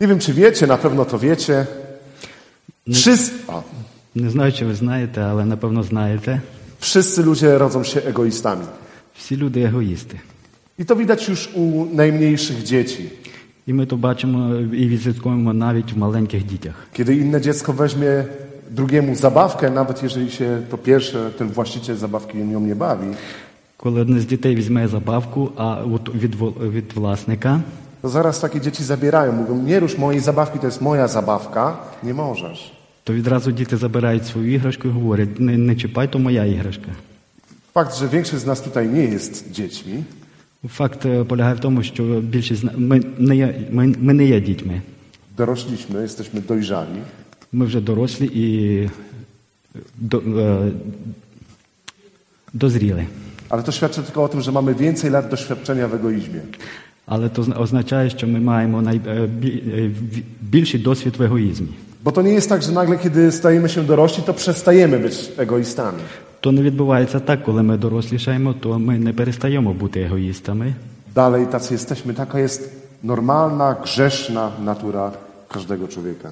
Nie wiem, czy wiecie, na pewno to wiecie. Wszyscy, o, Не знаю, чи ви знаєте, але напевно знаєте. wszyscy ludzie rodzą się egoistami. Всі люди егоїсти. I to widać już u najmniejszych dzieci. І ми то бачимо і відслідковуємо навіть в maленьких дітях. Kiedy inne dziecko weźmie drugiemu zabawkę, nawet jeżeli się to pierwsze, ten właściciel zabawki nią nie bawi, Коли одне з дітей візьме забавку, а от від, вол- від власника, to zaraz takie dzieci zabierają. Mówią, nie rusz mojej zabawki, to jest moja zabawka, nie możesz. то відразу діти забирають свою іграшку і говорять: не, не чіпай, то моя іграшка. Fakt, że większość z nas tutaj nie jest dziećmi, Факт е, полягає в тому, що більшість з на- ми не є, ми, ми не є дітьми. dorośliśmy, jesteśmy dojrzali, Ми вже дорослі і до, е, дозріли. ale to świadczy tylko o tym, że mamy więcej lat doświadczenia w egoizmie. Але то зна- означає, що ми маємо най, е, бі- е, ві- більший досвід в егоїзмі. Bo to nie jest tak, że nagle, kiedy stajemy się dorośli, to przestajemy być egoistami. То не відбувається так, коли ми дорослішаємо, то ми не перестаємо бути егоїстами. Dalej tacy jesteśmy. Taka jest normalna, grzeszna natura każdego człowieka.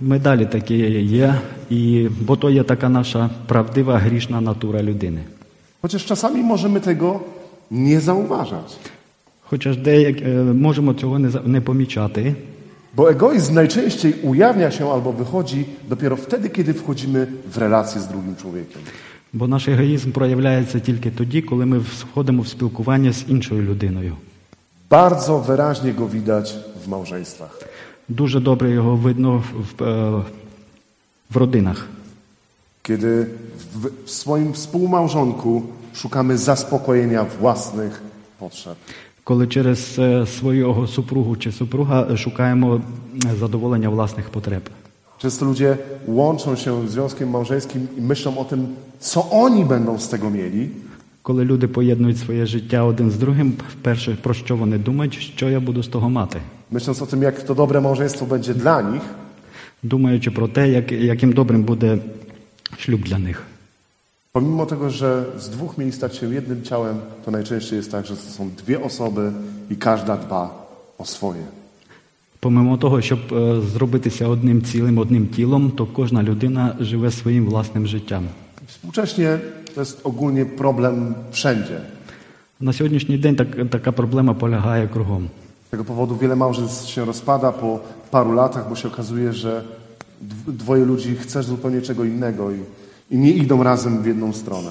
Ми далі такі є, і, бо то є така наша правдива грішна натура людини. Chociaż czasami możemy tego nie zauważać. Хоча ж деяк е, можемо цього не, за- не pomічати, Bo egoizm najczęściej ujawnia się albo wychodzi dopiero wtedy, kiedy wchodzimy w relacje z drugim człowiekiem. бо наш егоїзм проявляється тільки тоді, коли ми входимо в спілкування з іншою людиною. Bardzo wyraźnie go widać w małżeństwach. Дуже добре його видно в, в, е, в rodzinach. Kiedy w, w swoim współmałżonku szukamy zaspokojenia własnych potrzeb. коли через е, свого супругу чи супруга е, шукаємо е, задоволення власних потреб. Często ludzie łączą się z związkiem małżeńskim i myślą o tym, co oni będą z tego mieli, Коли люди поєднують своє життя один з другим, перше про що вони думають, що я буду з того мати, myśląc o tym, jak to dobre małżeństwo będzie dla nich, думаючи про те, як, яким добрим буде шлюб для них. pomimo tego, że z dwóch mieli stać się jednym ciałem, to najczęściej jest tak, że to są dwie osoby i każda dba o swoje. Помимо того, щоб е, зробитися одним цілим, одним тілом, то кожна людина живе своїм власним життям. Współcześnie to jest ogólnie problem wszędzie. На сьогоднішній день так, така проблема polягає kruchom. Z tego powodu wiele małżeństw się rozpada po paru latach, bo się okazuje, że dw- dwoje ludzi chce zupełnie czego innego i, i nie idą razem w jedną stronę.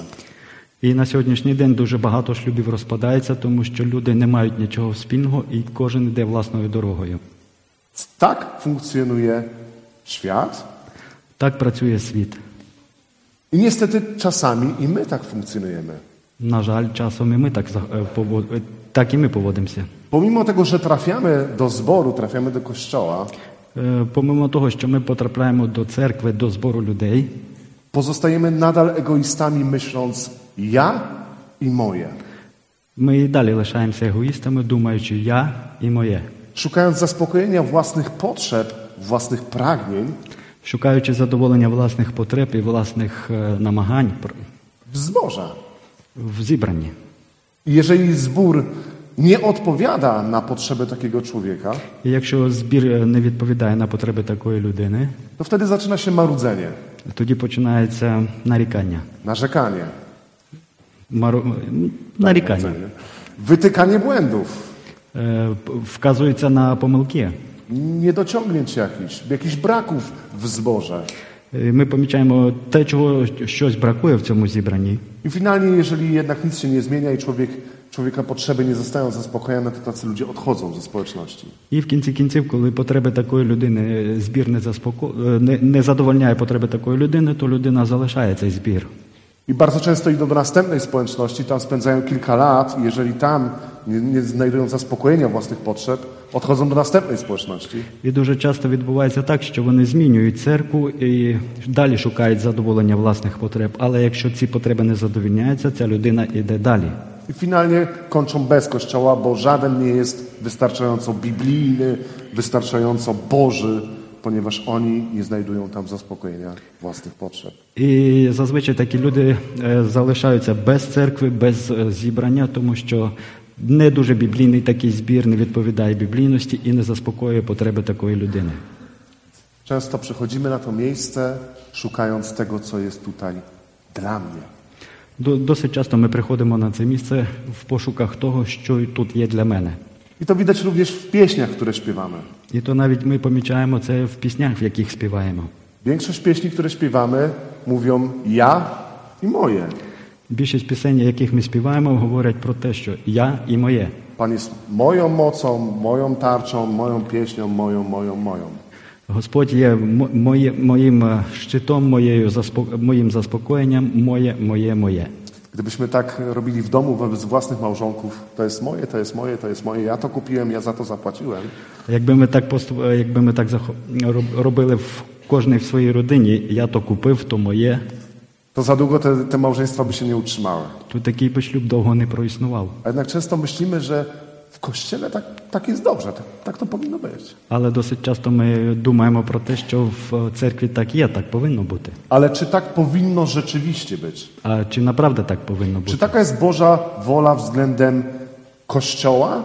І на сьогоднішній день дуже багато шлюбів розпадається, тому що люди не мають нічого спільного і кожен йде власною дорогою. Tak funkcjonuje świat Так працює світ. i niestety czasami i my tak funkcjonujemy. На жаль, часом і ми так, за- е, пово- е, так і ми поводимося. Pomimo tego, że trafiamy do zboru, trafiamy do kościoła, Е, Помимо того, що ми потрапляємо до церкви, до збору людей, pozostajemy nadal egoistami, myśląc ja i moje. ми і далі лишаємося егоїстами, думаючи я і моє, Szukając zaspokojenia własnych potrzeb, własnych pragnień, шукаючи задоволення власних потреб і власних е, намагань пр- w zborze. в зібранні. I Jeżeli zbór nie odpowiada na potrzeby takiego człowieka, І якщо збір е, не відповідає на потреби такої людини, to wtedy zaczyna się marudzenie, Тоді починається нарікання. narzekanie, Мару... Нарікання. wytykanie бłędów, Е, п- Вказується на помилки. niedociągnięć jakichś, jakichś braków w zborze. Е, Ми помічаємо те, чого щось brакує в цьому зібранні. I finalnie, jeżeli jednak nic się nie zmienia i człowiek, człowieka potrzeby nie zostają zaspokojone, to tacy ludzie odchodzą ze społeczności. І в кінці кінців, коли потреби такої людини е, збір не, заспоко... е, не, не задовольняє потреби такої людини, то людина залишає цей збір. I bardzo często idą do następnej społeczności, tam spędzają kilka lat i jeżeli tam nie, nie znajdują zaspokojenia własnych potrzeb, odchodzą do następnej społeczności. І дуже часто відбувається так, що вони змінюють церкву і далі шукають задоволення власних потреб. Але якщо ці потреби не задовольняються, ця людина йде далі. I finalnie kończą bez kościoła, bo żaden nie jest wystarczająco biblijny, wystarczająco boży, ponieważ oni nie znajdują tam zaspokojenia własnych potrzeb. І зазвичай такі люди е, залишаються без церкви, без е, зібрання, тому що Не дуже біблійний такий збір, не відповідає біблійності і не заспокоює потреби такої людини. Często przychodzimy na to miejsce, szukając tego, co jest tutaj dla mnie. До- Досить часто ми приходимо на це місце в пошуках того, що й тут є для мене. I to widać również w pieśniach, które śpiewamy. І то навіть ми помічаємо це в піснях, в яких співаємо. Większość pieśni, które śpiewamy, mówią ja i moje. Більшість пісень, яких ми співаємо, говорять про те, що я і моє. Pan jest moją mocą, moją tarczą, moją pieśnią, moją, moją, moją. Господь є м- моє, моїм е, щитом, моєю заспо- моїм заспокоєнням, моє, моє, моє. Gdybyśmy tak robili w domu wobec własnych małżonków, to jest moje, to jest moje, to jest moje, ja to kupiłem, ja za to zapłaciłem, Якби ми так поступ... е, якби ми так захо- роб- робили в кожній в своїй родині, я то купив, то моє, to za długo te, te małżeństwa by się nie utrzymały. то такий би шлюб довго не проіснував. A jednak często myślimy, że w kościele tak, tak jest dobrze, tak, tak to powinno być. Але досить часто ми думаємо про те, що в е, церкві так є, так повинно бути. Ale czy tak powinno rzeczywiście być? А чи направда так повинно Czy бути? taka jest Boża wola względem Kościoła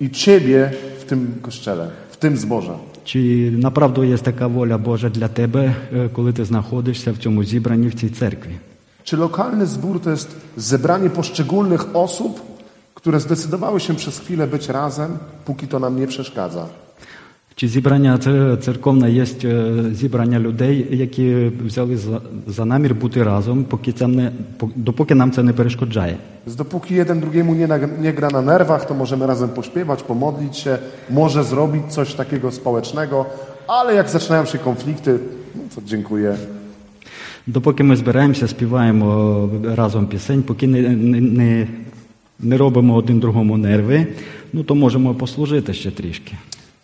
i Ciebie w tym Kościele, w tym zborze? Чи направду є така воля Божа для тебе, е, коли ти знаходишся в цьому зібранні в цій церкві? Czy lokalny zbór to jest zebranie poszczególnych osób, które zdecydowały się przez chwilę być razem, póki to nam nie przeszkadza? Чи зібрання це церковне є е, зібрання людей, які взяли за, за намір бути разом, поки це не пок- допоки нам це не перешкоджає. Więc dopóki jeden drugiemu nie, nag- nie gra na nerwach, to możemy razem pośpiewać, pomodlić się, może zrobić coś takiego społecznego, ale jak zaczynają się konflikty, no to dziękuję. Допоки ми збираємося, співаємо е, разом пісень, поки не, не, не, не робимо один другому нерви, ну то можемо послужити ще трішки.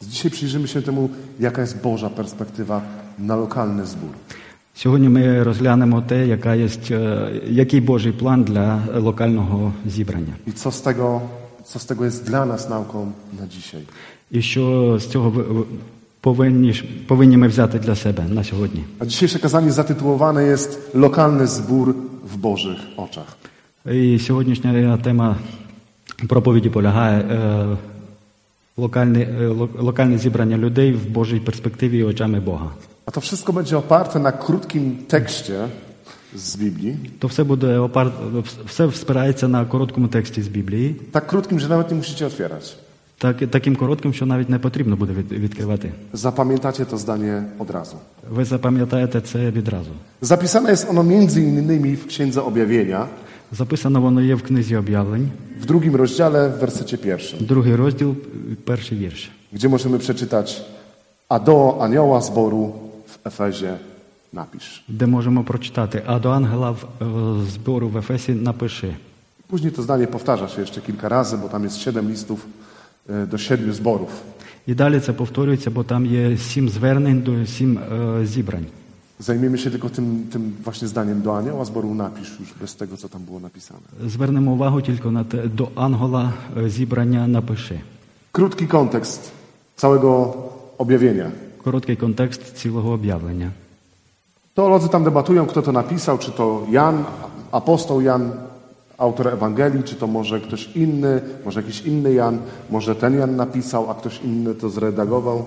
Dzisiaj przyjrzymy się temu, jaka jest Boża perspektywa na lokalny zbór. Сьогодні ми розглянемо те, яка є, який Божий план для локального зібрання. I co z tego, co z tego jest dla nas nauką na dzisiaj? І що з цього ви- ви- повинні, ж- повинні ми взяти для себе на сьогодні. A dzisiejsze kazanie zatytułowane jest Lokalny zbór w Bożych oczach. І сьогоднішня тема проповіді полягає е, локальне, е, ло- локальне зібрання людей в Божій перспективі і очами Бога. A to wszystko będzie oparte na krótkim tekście z Biblii. То все буде опар... все спирається на короткому тексті з Біблії, Tak krótkim, że nawet nie musicie otwierać. так, таким коротким, що навіть не потрібно буде від- відкривати. Zapamiętacie to zdanie od razu. Ви запам'ятаєте це відразу. Zapisane jest ono między innymi w Księdze Objawienia, Записано воно є в книзі об'явлень, w drugim rozdziale, w wersecie pierwszym, другий розділ, перший вірш. gdzie możemy przeczytać A do anioła zboru w Efezie napisz. де можемо прочитати А до ангела в е, збору в Ефесі напиши. Później to zdanie powtarza się jeszcze kilka razy, bo tam jest siedem listów y, do siedmiu zborów. І далі це повторюється, бо там є сім звернень до сім е, зібрань. Zajmiemy się tylko tym, tym właśnie zdaniem do anioła zboru napisz już bez tego, co tam było napisane. Звернемо увагу тільки на те до ангела е, зібрання напиши. Krótki kontekst całego objawienia. Короткий контекст цілого об'явлення. Teolodzy tam debatują, kto to napisał, czy to Jan, apostoł Jan, autor Ewangelii, czy to może ktoś inny, może jakiś inny Jan, może ten Jan napisał, a ktoś inny to zredagował.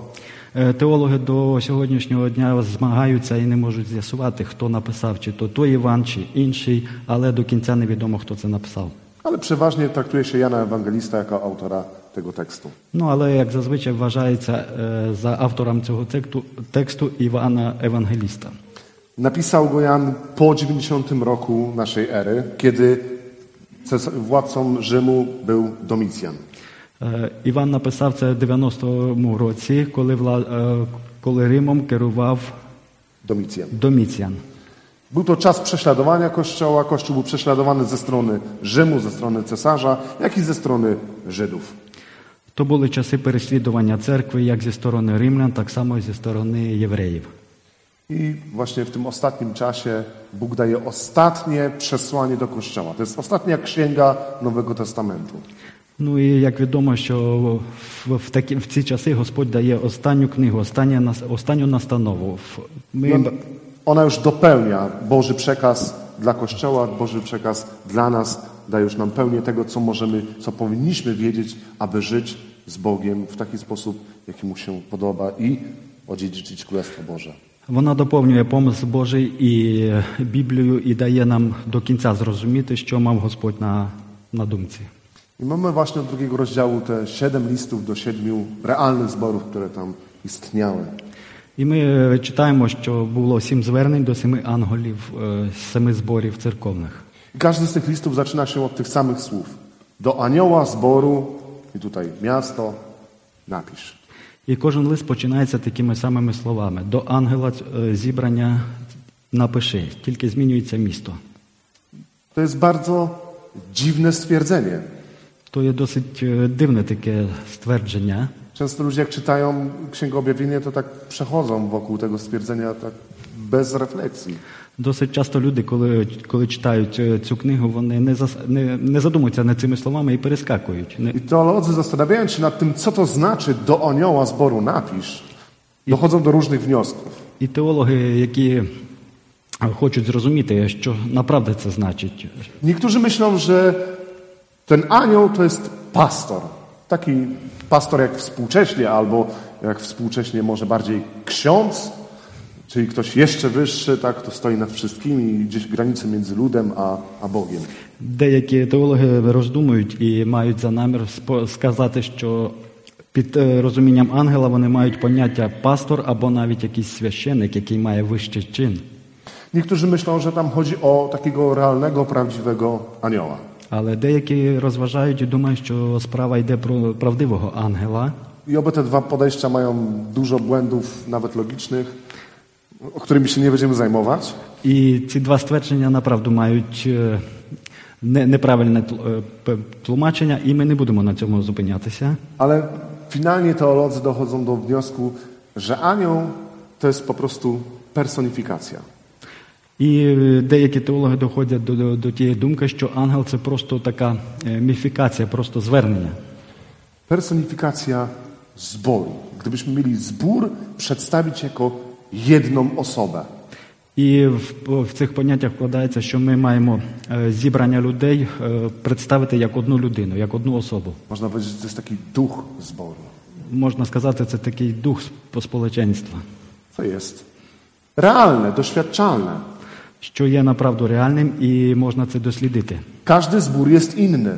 Е, Теологи до сьогоднішнього дня змагаються і не можуть з'ясувати, хто написав, чи то той Іван, чи інший, але до кінця невідомо, хто це написав. Ale przeważnie traktuje się Jana Ewangelista jako autora tego tekstu. Ну, але як зазвичай вважається е, за автором цього тексту, тексту Івана Евангеліста. Napisał go Jan po 90 roku naszej ery, kiedy ces- władcą Rzymu był Domicjan. Е, Іван написав це в 90-му році, коли, вла, е, коли Римом керував Domicjan. Доміціан. Był to czas prześladowania Kościoła. Kościół był prześladowany ze strony Rzymu, ze strony cesarza, jak i ze strony Żydów. То були часи переслідування церкви як зі сторони римлян, так само і зі сторони євреїв. I właśnie w tym ostatnim czasie Bóg daje ostatnie przesłanie do Kościoła. To jest ostatnia księga Nowego Testamentu. Ну і як відомо, що в, в, такі, в ці часи Господь дає останню книгу, останнє, нас- останню настанову. В- I Ми, on, ona już dopełnia Boży przekaz dla Kościoła, Boży przekaz dla nas, dajesz nam pełnię tego, co możemy, co powinniśmy wiedzieć, aby żyć z Bogiem w taki sposób, jaki mu się podoba i odziedziczyć Królestwo Boże. Вона доповнює помисл Божий і Біблію і дає нам до кінця зрозуміти, що мав Господь на, на думці. I mamy właśnie od drugiego rozdziału te siedem listów do siedmiu realnych zborów, które tam istniały. І ми е, читаємо, що було сім звернень до семи анголів, е, з семи зборів церковних. I każdy z tych listów zaczyna się od tych samych słów. Do anioła zboru, i tutaj miasto, napisz. І кожен лист починається такими самими словами: до ангела е, зібрання напиши, тільки змінюється місто. To jest bardzo dziwne stwierdzenie. То є досить е, дивне таке ствердження. Często ludzie, jak czytają Księgę Objawienia, to tak przechodzą wokół tego stwierdzenia tak bez refleksji. Досить часто люди, коли, коли читають е, цю книгу, вони не, зас, не, не задумуються над цими словами і перескакують. Не, I teolodzy, zastanawiając się nad tym, co to znaczy do anioła zboru napisz, dochodzą do różnych wniosków. і теологи, які е, хочуть зрозуміти, що направда це значить. Niektórzy myślą, że ten anioł to jest pastor. Taki pastor jak współcześnie, albo jak współcześnie może bardziej ksiądz, czyli ktoś jeszcze wyższy, tak, kto stoi nad wszystkimi, gdzieś granicy między ludem a, a Bogiem. Деякі теологи роздумують і мають за намір спо- сказати, що під е, розумінням ангела вони мають поняття пастор або навіть якийсь священик, який має вищий чин. Niektórzy myślą, że tam chodzi o takiego realnego, prawdziwego anioła. Але деякі розважають і думають, що справа йде про правдивого ангела, I oba te dwa podejścia mają dużo błędów, nawet logicznych, o którymi się nie będziemy zajmować. І ці два ствердження направду мають е, не- неправильне тл- е, п- тлумачення, і ми не будемо на цьому зупинятися. Ale finalnie teolodzy dochodzą do wniosku, że anioł to jest po prostu personifikacja. І е, деякі теологи доходять до, до, до тієї думки, що ангел це просто така е, міфікація, просто звернення. Personifikacja zboru. Gdybyśmy mieli zbór przedstawić jako jedną osobę. І в, по- в цих поняттях вкладається, що ми маємо е, зібрання людей е, представити як одну людину, як одну особу. Można powiedzieć, że to jest taki duch zboru. Можна сказати, це такий дух сп- сполоченства, To jest realne, doświadczalne. що є направду реальним і можна це дослідити. Każdy zbór jest inny.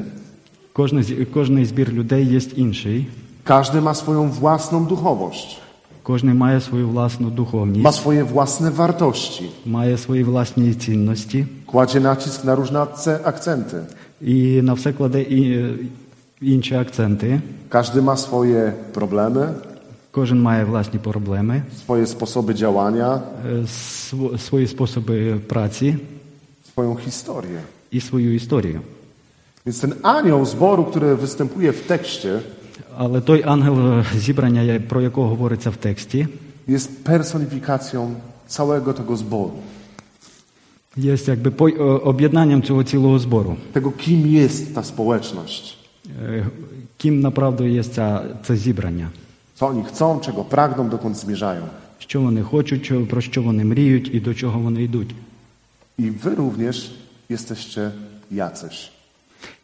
Кожний, з- кожний збір людей є інший, Każdy ma swoją własną duchowość. кожен має свою власну духовність, Ma swoje własne wartości. має свої власні цінності Kładzie nacisk na różne akce- akcenty. і на все кладе і, е, інші акценти. Każdy ma swoje problemy, Кожен має власні проблеми, swoje sposoby działania, е, св- свої способи праці swoją historię. і свою історію. Więc ten anioł zboru, który występuje w tekście, Але той ангел е, зібрання, я- про якого говориться в тексті, jest personifikacją całego tego zboru. є якби по- е, об'єднанням цього цілого збору. Tego, kim jest ta społeczność. Е, Ким направду є ця, це zібрання? Co oni chcą, czego pragną, dokąd zmierzają. що вони хочуть, що- про що вони мріють і до чого вони йдуть. I wy również jesteście jacyś.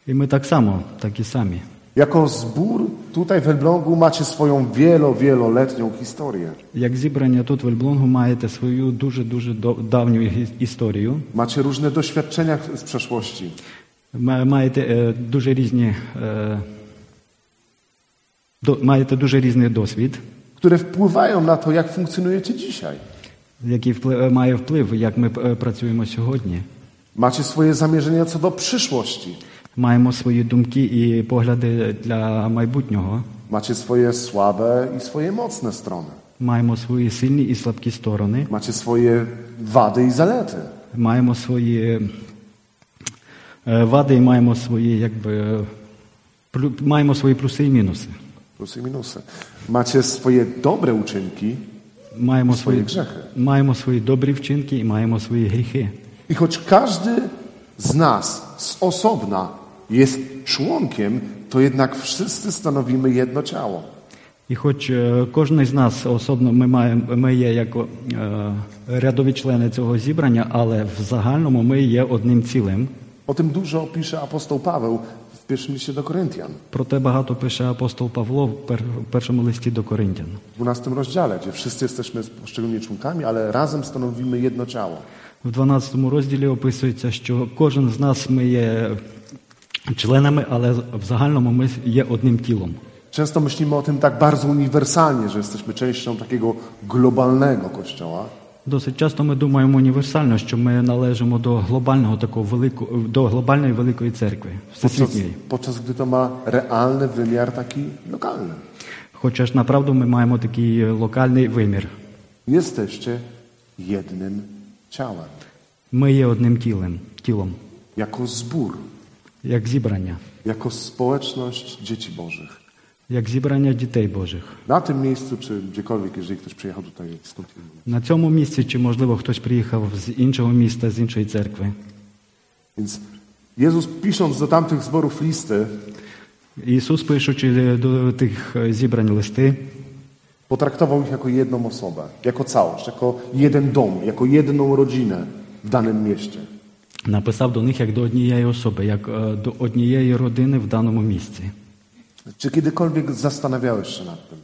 І ми так само, такі самі. Jako zbór tutaj w Elblągu macie swoją wielo, wieloletnią historię. Як зібрання тут в Ельблонгу маєте свою дуже дуже давню іс- історію. Macie różne doświadczenia z przeszłości. Ма- Маєте е, дуже різні е, до, маєте дуже різний досвід, które wpływają na to, jak funkcjonujecie dzisiaj. який вплив має вплив, як ми е, працюємо сьогодні. Macie swoje zamierzenia co do przyszłości. Маємо свої думки і погляди для майбутнього. Macie swoje słabe i swoje mocne strony. Маємо свої сильні і слабкі сторони. Macie swoje wady i zalety. маємо свої е, вади і маємо свої, якби, е, плю- маємо свої плюси і мінуси. Plusy i minusy. Macie swoje dobre uczynki. Маємо Свої свої, грехи. маємо свої добрі вчинки і маємо свої гріхи. I choć każdy z nas z osobna jest członkiem, to jednak wszyscy stanowimy jedno ciało. І хоч е, кожен з нас особливо ми, маємо, ми є як е, рядові члени цього зібрання, але в загальному ми є одним цілим. O tym dużo pisze apostoł Paweł w pierwszym liście do Koryntian, Про те багато пише апостол Павло в пер- в першому листі до Коринтян. w 12 rozdziale, gdzie wszyscy jesteśmy poszczególnie członkami, ale razem stanowimy jedno ciało. В 12 розділі описується, що кожен з нас ми є членами, але в загальному ми є одним тілом. Często myślimy o tym tak bardzo uniwersalnie, że jesteśmy częścią takiego globalnego kościoła, Досить часто ми думаємо універсально, що ми належимо до глобального такого великого до глобальної великої церкви podczas, всесвітньої. podczas gdy to ma realny wymiar taki lokalny. Хоча ж направду ми маємо такий локальний вимір. Jesteście jednym ciałem, Ми є одним тілем, тілом, jako zbór, як зібрання, jako społeczność dzieci Bożych. як зібрання дітей Божих. Na tym miejscu, czy gdziekolwiek, jeżeli ktoś przyjechał tutaj skąd inny. На цьому місці, чи можливо хтось приїхав з іншого міста, з іншої церкви. Więc Jezus pisząc do tamtych zborów listy, Ісус, пишучи до тих е, зібрань листи, potraktował ich jako jedną osobę, jako całość, jako jeden dom, jako jedną rodzinę w danym mieście. написав до них як до однієї особи, як е, до однієї родини в даному місці. Czy kiedykolwiek zastanawiałeś się nad tym,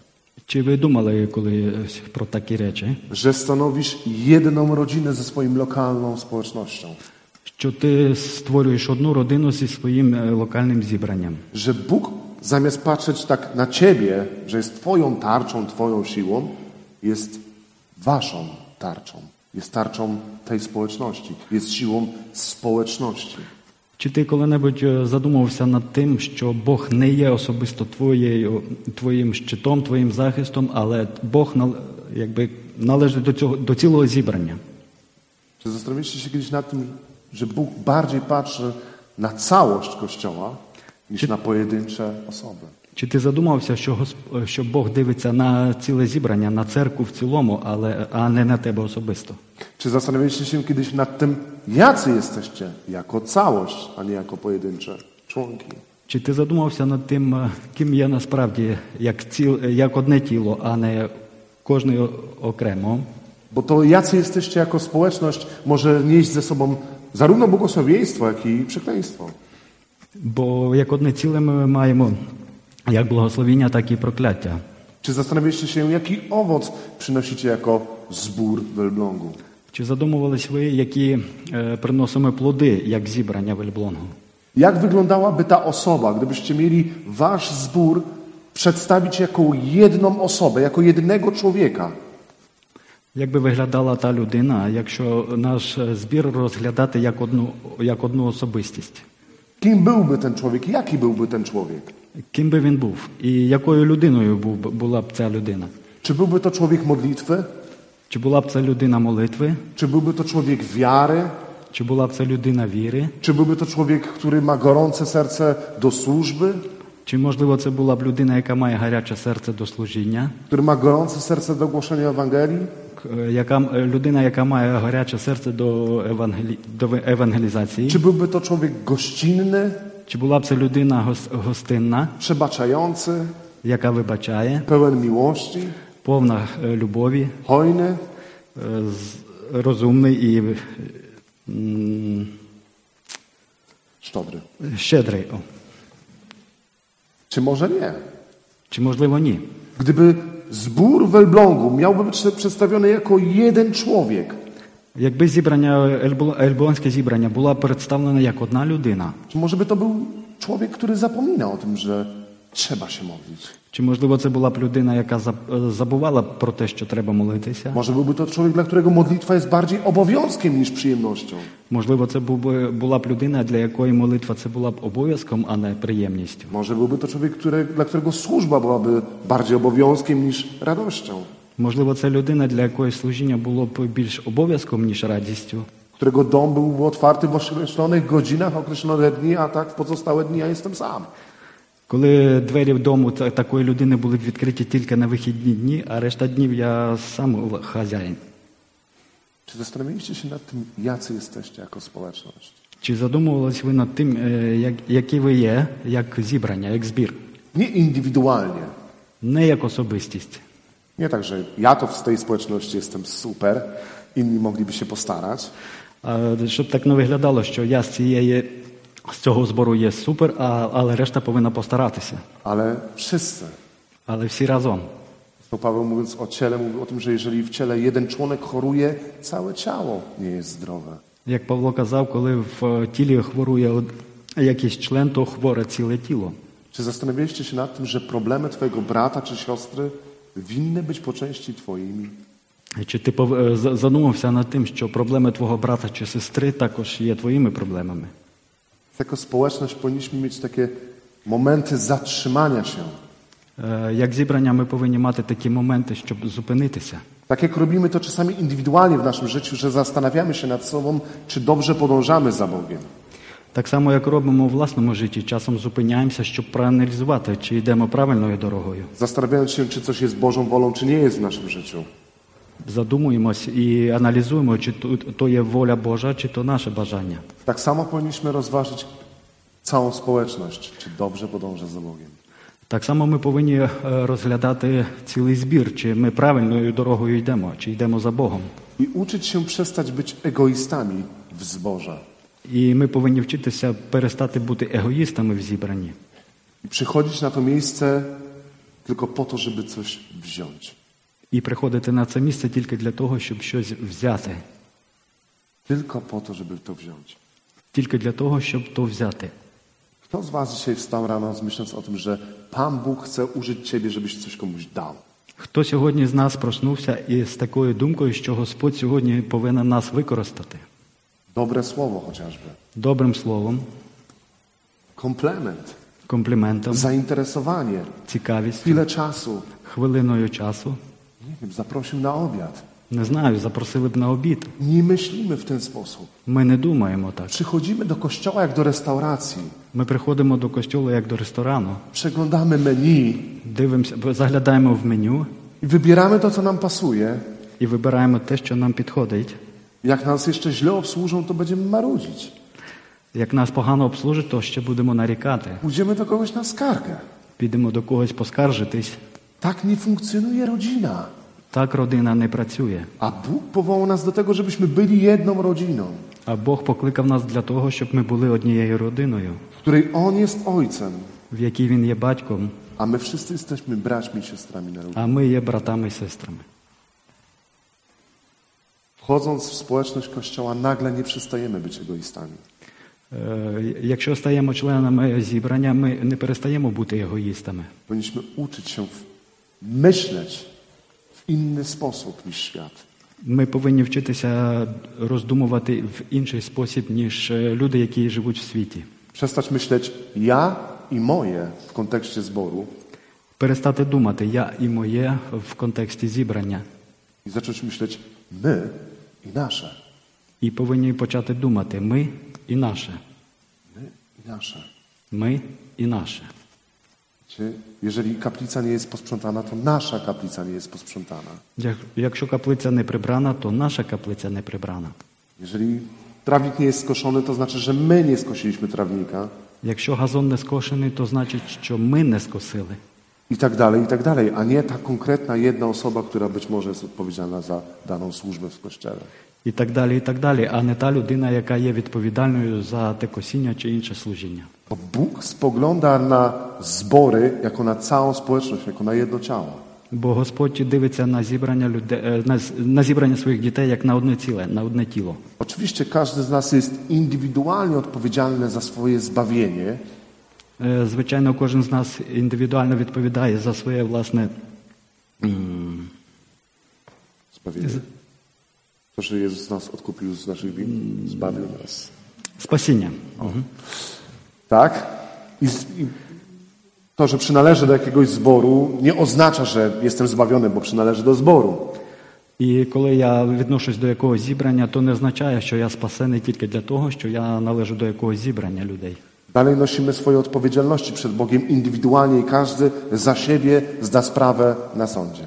Чи ви думали колись про taкі речі? że stanowisz jedną rodzinę ze swoim lokalną społecznością? Що ти створюєш одну родину зі своїм е, локальним зібранням? Że Bóg zamiast patrzeć tak na ciebie, że jest twoją tarczą, twoją siłą, jest waszą tarczą. Jest tarczą tej społeczności. Jest siłą społeczności. Чи ти коли-небудь е, задумувався над тим, що Бог не є особисто твоєю, твоїм щитом, твоїм захистом, але Бог нал- якби належить до цього до цілого зібрання? Czy zastanawialiście się kiedyś nad tym, że Bóg bardziej patrzy na całość Kościoła niż na pojedyncze osoby? Чи ти задумався, що Госп- що Бог дивиться на ціле зібрання, на церкву в цілому, але а не на тебе особисто? Czy zastanawialiście się kiedyś nad tym, jacy jesteście jako całość, a nie jako pojedyncze członki? Чи ти задумався над тим, е, ким є насправді як ціл, е, як одне тіло, а не кожне о- окремо? Bo to, jacy jesteście jako społeczność, może nieść ze sobą zarówno błogosławieństwo, jak i przekleństwo. Бо як одне ціле ми маємо як благословіння, так і прокляття. Czy zastanawialiście się, jaki owoc przynosicie jako zbór w Elblągu? Чи задумувались ви, які е, приносимо плоди, як зібрання вельблонгу? Jak wyglądałaby ta osoba, gdybyście mieli wasz zbór przedstawić jako jedną osobę, jako jednego człowieka? Як би виглядала та людина, якщо наш е, збір розглядати як одну, як одну особистість? Kim byłby ten człowiek? Jaki byłby ten człowiek? Ким би він був? І якою людиною був, б- була б ця людина? Czy byłby to człowiek modlitwy? Чи була б це людина молитви? Czy byłby to człowiek wiary? Чи була б це людина віри? Czy byłby to człowiek, który ma gorące serce do służby? Чи можливо це була б людина, яка має гаряче серце до служіння? Który ma gorące serce do głoszenia Ewangelii? К- е, Яка м- е, людина, яка має гаряче серце до евангелі... до ве- евангелізації? Czy Чи... byłby to człowiek gościnny, була б це людина гос... гостинна, przebaczający, яка вибачає, pełen miłości, повна е, любові, hojny? е, з- розумний і е, м, Szczodry. щедрий? О. Czy może nie? Чи можливо ні? Gdyby zbór w Elblągu miałby być przedstawiony jako jeden człowiek, Якби зібрання Ельбо- Ельбонське зібрання була представлена як одна людина, czy może by to był człowiek, który zapomina o tym, że trzeba się modlić? чи можливо це була б людина, яка заб- е, забувала б про те, що треба молитися? Może byłby to człowiek, dla którego modlitwa jest bardziej obowiązkiem niż przyjemnością? Можливо, це був би- була б людина, для якої молитва це була б обов'язком, а не приємністю. Może byłby to człowiek, który, dla którego służba byłaby bardziej obowiązkiem niż radością? Можливо, це людина, для якої служіння було б більш obов'язком, ніж радістю, Którego dom byłby otwarty w określonych godzinach, określone dni, a tak w pozostałe dni ja jestem sam. коли двері дому та- такої людини були б відкриті тільки на вихідні дні, а решта днів я сам л- хазяїн. Czy zastanawialiście się nad tym, jacy jesteście jako społeczność? Чи задумувались ви над тим, е, як, які ви є, як зібрання, як збір, Nie indywidualnie, не як особистість? Nie tak, że ja to z tej społeczności jestem super, inni mogliby się postarać, А щоб так не виглядало, що я з цієї З цього збору є супер, а, але решта повинна постаратися. ale wszyscy. Але всі разом. To Paweł mówiąc o ciele, mówił o tym, że jeżeli w ciele jeden członek choruje, całe ciało nie jest zdrowe. Як Павло казав, коли в е, тілі хворує од- якийсь член, то хворе ціле тіло. Czy zastanawialiście się nad tym, że problemy twojego brata czy siostry winny być po części twoimi? Чи ти пов- е, за- задумався над тим, що проблеми твого брата чи сестри також є твоїми проблемами? Jako społeczność powinniśmy mieć takie momenty zatrzymania się. Е, Як зібрання ми повинні мати такі моменти, щоб зупинитися. Tak jak robimy to czasami indywidualnie w naszym życiu, że zastanawiamy się nad sobą, czy dobrze podążamy za Bogiem. Так само, як робимо у власному житті, часом зупиняємося, щоб проаналізувати, чи йдемо правильною дорогою. Zastanawiając się, czy coś jest Bożą wolą, czy nie jest w naszym życiu. Задумуємось і аналізуємо, чи то- то є воля Божа, чи то наше bажання. Tak samo powinniśmy rozważyć całą społeczność, czy dobrze podąża za Bogiem. Так само ми повинні е, розглядати цілий збір, чи ми правильною дорогою йдемо, чи йдемо за Богом. I uczyć się przestać być egoistami w zborze. І ми повинні вчитися перестати бути егоїстами в зібранні I przychodzić na to miejsce tylko po to, żeby coś wziąć. і приходити на це місце тільки для того, щоб щось взяти. Tylko po to, żeby to wziąć. Тільки для того, щоб то взяти. Kto z Was dzisiaj wstał rano, myśląc o tym, że Pan Bóg chce użyć Ciebie, żebyś coś komuś dał? Хто сьогодні з нас проснувся із такою думкою, що Господь сьогодні повинен нас використати Dobre słowo chociażby, добрим словом, komplement, компліментом, zainteresowanie, цікавістю, chwilę czasu. хвилиною часу? Nie wiem, zaprosił na obiad. Не znаю, запросили б на обід. Nie myślimy w ten sposób. Ми не думаємо так. Przychodzimy do kościoła jak do restauracji. Ми приходимо до костюлу як до ресторану, Przeglądamy menu дивимося, заглядаємо в меню i wybieramy to, co nam pasuje. і вибираємо те, що нам підходить. Jak nas jeszcze źle obsłużą, to będziemy marudzić. Як нас погано обслужить, то ще будемо нарікати. Pójdziemy do kogoś na skargę. Підемо до когось поскаржитись. Tak nie funkcjonuje rodzina. Так родина не працює. A Bóg powołał nas do tego, żebyśmy byli jedną rodziną, А Бог покликав нас для того, щоб ми були однією родиною, w której On jest Ojcem, в якій він є батьком, a my wszyscy jesteśmy braćmi i siostrami na rodzinie. а ми є братами і сестрами. Wchodząc w społeczność Kościoła, nagle nie przestajemy być egoistami. Е, Якщо стаємо членами зібрання, ми не перестаємо бути егоїстами. Powinniśmy uczyć się w- myśleć w inny sposób niż świat. Ми повинні вчитися роздумувати в інший спосіб, ніж е, люди, які живуть в світі. Przestać myśleć ja i moje w kontekście zboru Перестати думати я і моє в контексті зібрання. i zacząć myśleć my i nasze. І повинні почати думати ми і наше. My i nasze. Ми і наше. Wiecie, Jeżeli kaplica nie jest posprzątana, to nasza kaplica nie jest posprzątana. Як- Якщо каплиця не прибрана, то наша каплиця не прибрана. Jeżeli trawnik nie jest skoszony, to znaczy, że my nie skosiliśmy trawnika Якщо газон не скошений, то значить, що ми не скосили. i tak dalej, i tak dalej, a nie ta konkretna jedna osoba, która być może jest odpowiedzialna za daną służbę w kościele. І так далі, і так далі, а не та людина, яка є відповідальною за те косіння чи інше служіння. Bo Bóg spogląda na zbory jako na całą społeczność, jako na jedno ciało. Бо Господь дивиться на зібрання людей, е, на, з- на зібрання своїх дітей як на одне ціле, на одне тіло. Oczywiście każdy z nas jest indywidualnie odpowiedzialny za swoje zbawienie, Е, Звичайно, кожен з нас індивідуально відповідає за своє власне zbawienie. To, że Jezus nas odkupił z naszych win, zbawił nas. спасіння. Tak? I, I to, że przynależę do jakiegoś zboru, nie oznacza, że jestem zbawiony, bo przynależę do zboru. І коли я відношусь до якогось зібрання, то не означає, що я спасений тільки для того, що я належу до якогось зібрання людей. Dalej nosimy swoje odpowiedzialności przed Bogiem indywidualnie i każdy za siebie zda sprawę na sądzie.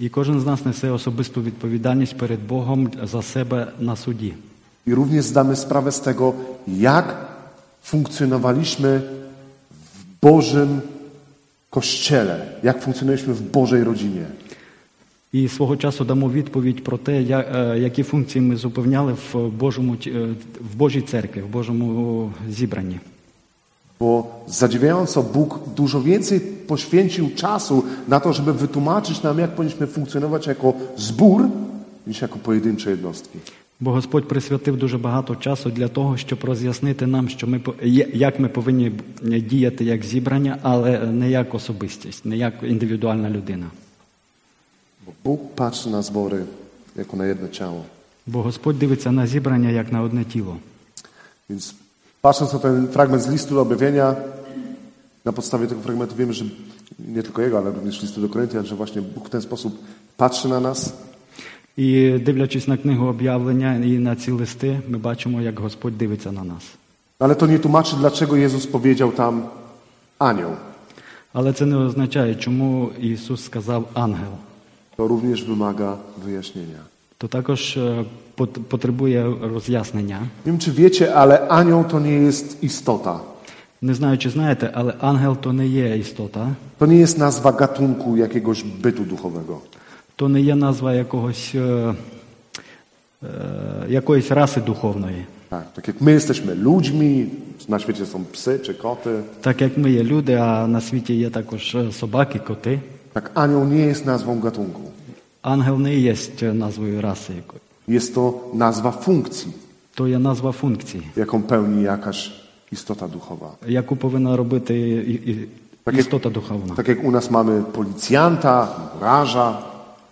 І кожен з нас несе особисту відповідальність перед Богом за себе на суді. I również zdamy sprawę z tego, jak funkcjonowaliśmy w Bożym Kościele, jak funkcjonowaliśmy w Bożej rodzinie. І свого часу дамо відповідь про те, я- е, які функції ми зупиняли в Божому ті- е, в Божій церкві, в Божому зібранні. Bo zadziwiająco Bóg dużo więcej poświęcił czasu na to, żeby wytłumaczyć nam, jak powinniśmy funkcjonować jako zbór, niż jako pojedyncze jednostki. Бо Господь присвятив дуже багато часу для того, щоб роз'яснити нам, що ми по- є- як ми повинні діяти як зібрання, але не як особистість, не як індивідуальна людина. Bo Bóg patrzy na zbory jako na jedno ciało. Бо Господь дивиться на зібрання як на одне тіло. Więc patrząc na ten fragment z listu do objawienia, na podstawie tego fragmentu wiemy, że nie tylko jego, ale również listu do Koryntian, że właśnie Bóg w ten sposób patrzy na nas, І дивлячись на книгу об'явлення і на ці листи, ми бачимо, як Господь дивиться на нас. ale to nie tłumaczy, dlaczego Jezus powiedział tam anioł. Але це не означає, чому Ісус сказав ангел. To również wymaga wyjaśnienia. То також е, пот- потребує роз'яснення. Nie wiem, czy wiecie, ale anioł to nie jest istota. Не знаю, чи знаєте, але ангел то не є істота, To nie jest nazwa gatunku jakiegoś bytu duchowego. то не є назва якогось, е, е, якоїсь раси духовної. Tak, tak jak my jesteśmy ludźmi, na świecie są psy czy koty, Так як ми є люди, а на світі є takож е, собаки, коти, tak anioł nie jest nazwą gatunku. ангел не є назвою раси якої. Jest to nazwa funkcji, То є назва функції, jaką pełni jakaś istota duchowa. яку повинна робити і- і- Так як- істота духовна. Tak jak u nas mamy policjanta, murarza,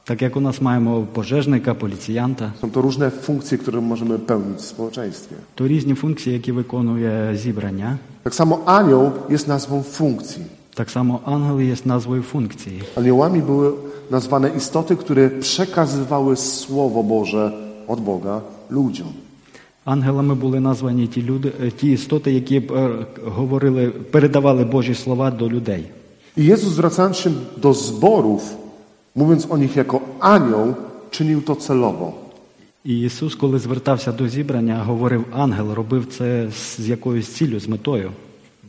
Так як у нас маємо пожежника, поліціянта, są to różne funkcje, które możemy pełnić w społeczeństwie. то різні функції, які виконує зібрання. Tak samo anioł jest nazwą funkcji. Так само ангел є назвою функції. Aniołami były nazwane istoty, które przekazywały Słowo Boże od Boga ludziom. Ангелами були названі ті люди, е, ті істоти, які б, е, говорили, передавали Божі слова до людей. I Jezus zwracając się do zborów, mówiąc o nich jako anioł, czynił to celowo. І Ісус, коли звертався до зібрання, говорив ангел, робив це з з якоюсь ціллю, з метою.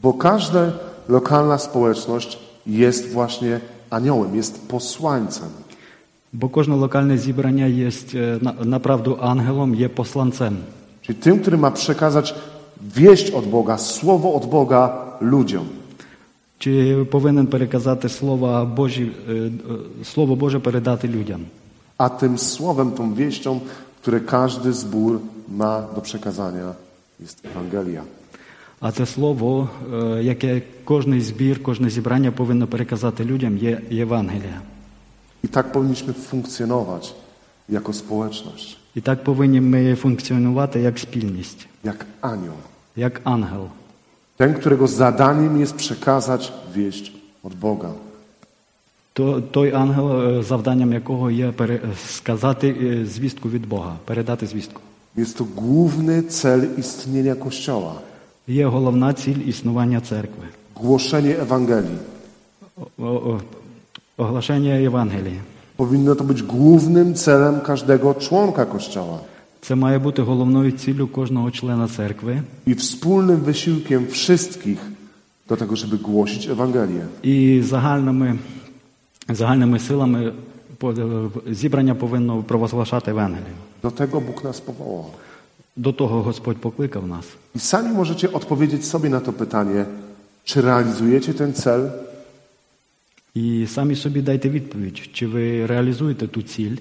Bo każda lokalna społeczność jest właśnie aniołem, jest posłańcem. Бо кожне локальне зібрання є е, на- направду ангелом, є посланцем. Czyli tym, który ma przekazać wieść od Boga, słowo od Boga ludziom. Чи повинен переказати слова Божі, е, е, слово Боже передати людям? A tym słowem, tą wieścią, które każdy zbór ma do przekazania, jest Ewangelia. А те слово, е, яке кожний збір, кожне зібрання повинно переказати людям, є Євангелія. I tak powinniśmy funkcjonować jako społeczność, І так повинні ми функціонувати як спільність, jak anioł. як ангел. Ten, którego zadaniem jest przekazać wieść od Boga. То, той ангел, е, завданням якого є пере, сказати е, звістку від Бога, передати звістку. Jest to główny cel istnienia Kościoła Є головна ціль існування церкви głoszenie Ewangelii. О- о- оглашення Євангелії. Powinno to być głównym celem każdego członka Kościoła Це має бути головною ціллю кожного члена церкви i wspólnym wysiłkiem wszystkich do tego, żeby głosić Ewangelię. і загальними, загальними силами по- е, зібрання повинно провозглашати Євангелію. Do tego Bóg nas powołał. До того Господь покликав нас. I sami możecie odpowiedzieć sobie na to pytanie, czy realizujecie ten cel, І самі собі дайте відповідь, чи ви реалізуєте ту ціль,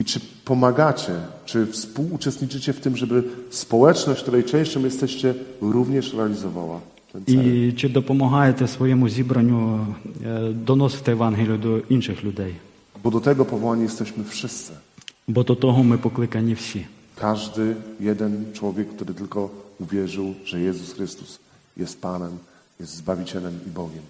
I czy pomagacie, czy współuczestniczycie w tym, żeby społeczność, której częścią jesteście, również realizowała ten cel? і чи допомагаєте своєму зібранню е, доносити Евангелію до інших людей? Bo do tego powołani jesteśmy wszyscy. Бо до того ми покликані всі. Każdy jeden człowiek, który tylko uwierzył, że Jezus Chrystus jest Panem, jest Zbawicielem i Bogiem.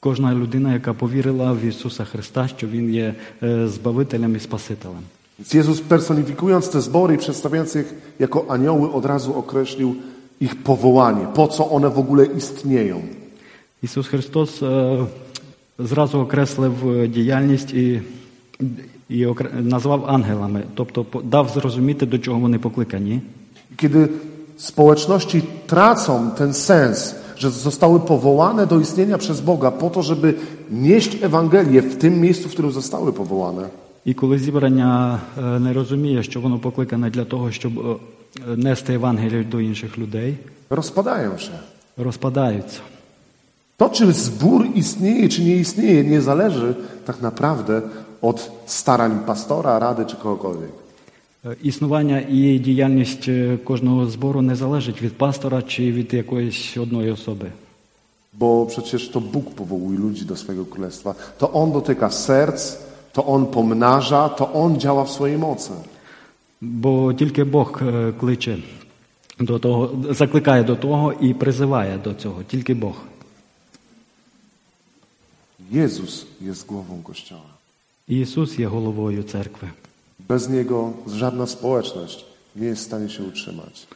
Кожна людина, яка повірила в Ісуса Христа, що Він є е, Збавителем і Спасителем. Więc Jezus personifikując te zbory i przedstawiając ich jako anioły, od razu określił ich powołanie, po co one w ogóle istnieją. Ісус Христос е, зразу окреслив е, діяльність і, і окре- назвав ангелами, тобто по- дав зрозуміти, до чого вони покликані. Kiedy społeczności tracą ten sens, że zostały powołane do istnienia przez Boga po to, żeby nieść Ewangelię w tym miejscu, w którym zostały powołane, І коли зібрання е, не розуміє, що воно покликане для того, щоб е, нести Евангелію до інших людей, rozpadają się. розпадаються. To, czy zbór istnieje, czy nie istnieje, nie zależy tak naprawdę od starań pastora, rady czy kogokolwiek. Е, Існування і діяльність е, кожного збору не залежить від пастора чи від якоїсь одної особи. Bo przecież to Bóg powołuje ludzi do swojego królestwa. To On dotyka serc, to On pomnaża, to On działa w swojej mocy. Бо тільки Бог е, кличе до того, закликає до того і призиває до цього. Тільки Бог. Jezus jest głową Kościoła. Ісус є головою церкви. Bez Niego żadna społeczność nie jest w stanie się utrzymać.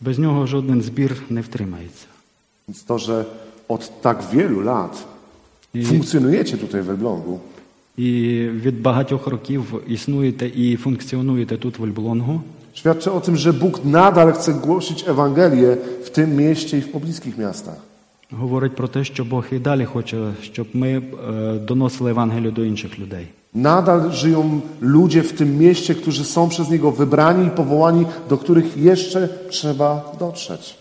Без нього жоден збір не втримається. Więc to, że od tak wielu lat I- funkcjonujecie tutaj w Elblągu, І від багатьох років існуєте і функціонуєте тут в Ольблонгу. świadczy o tym, że Bóg nadal chce głosić Ewangelię w tym mieście i w pobliskich miastach. Говорить про те, що Бог і далі хоче, щоб ми е, доносили Евангелію до інших людей. Nadal żyją ludzie w tym mieście, którzy są przez Niego wybrani i powołani, do których jeszcze trzeba dotrzeć.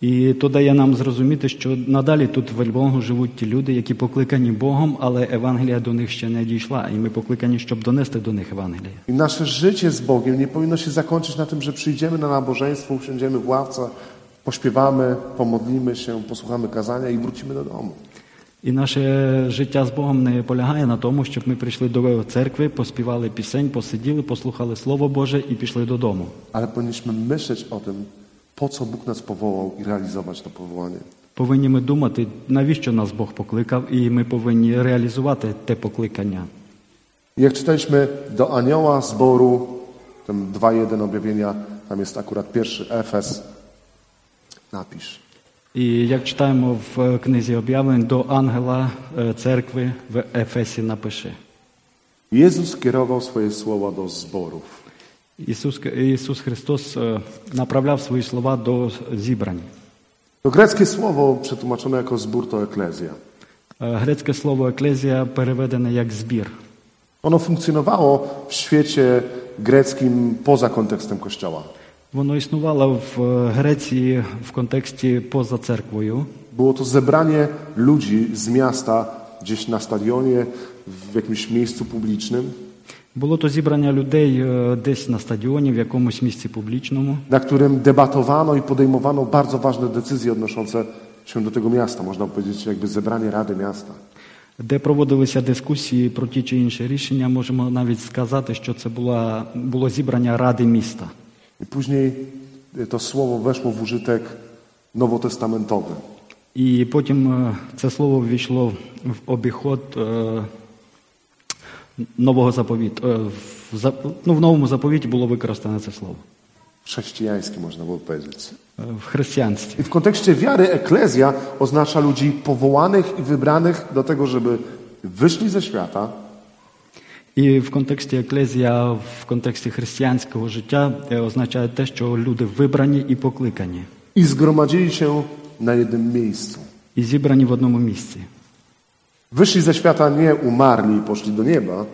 І то дає нам зрозуміти, що надалі тут в Ельбонгу живуть ті люди, які покликані Богом, але Евангелія до них ще не дійшла, і ми покликані, щоб донести до них Евангеліє. I nasze życie z Bogiem nie powinno się zakończyć na tym, że przyjdziemy na nabożeństwo, usiądziemy w ławce, pośpiewamy, pomodlimy się, posłuchamy kazania i wrócimy do domu. І наше життя з Богом не полягає на тому, щоб ми прийшли до церкви, поспівали пісень, посиділи, послухали Слово Боже і пішли додому. Ale powinniśmy myśleć o tym, po co Bóg nas powołał i realizować to powołanie. Повинні ми думати, навіщо нас Бог покликав, і ми повинні реалізувати те покликання. Jak czytaliśmy do anioła zboru, tym 2.1 objawienia, tam jest akurat pierwszy Efes, napisz. І як читаємо в е, книзі об'явлень до ангела е, церкви в Ефесі напиши. Jezus kierował swoje słowa do zborów. Ісус, Ісус Христос е, направляв свої слова до зібрань. To greckie słowo przetłumaczone jako zbór to eklezja. Е, Грецьке слово еклезія переведене як збір. Ono funkcjonowało w świecie greckim poza kontekstem Kościoła. Воно існувало в е, Греції в контексті поза церквою. Było to zebranie ludzi z miasta gdzieś na stadionie, w jakimś miejscu publicznym, Було то зібрання людей е, десь на стадіоні, в якомусь місці публічному, na którym debatowano i podejmowano bardzo ważne decyzje odnoszące się do tego miasta. Można powiedzieć, jakby zebranie Rady Miasta. де проводилися дискусії про ті чи інші рішення. Можемо навіть сказати, що це була, було зібрання ради міста. I później y, to słowo weszło w użytek nowotestamentowy. І потім е, це слово ввійшло в обіход е, нового заповіту. Е, в за- Ну, в новому заповіті було використане це слово Chrześcijański, można by powiedzieć. е, в християнстві. I w kontekście wiary eklezja oznacza ludzi powołanych i wybranych do tego, żeby wyszli ze świata, І в контексті еклезія, в контексті християнського життя е, означає те, що люди вибрані і покликані, i zgromadzili się na jednym miejscu. і зібрані в одному місці. Wyszli ze świata, nie umarli i poszli do nieba,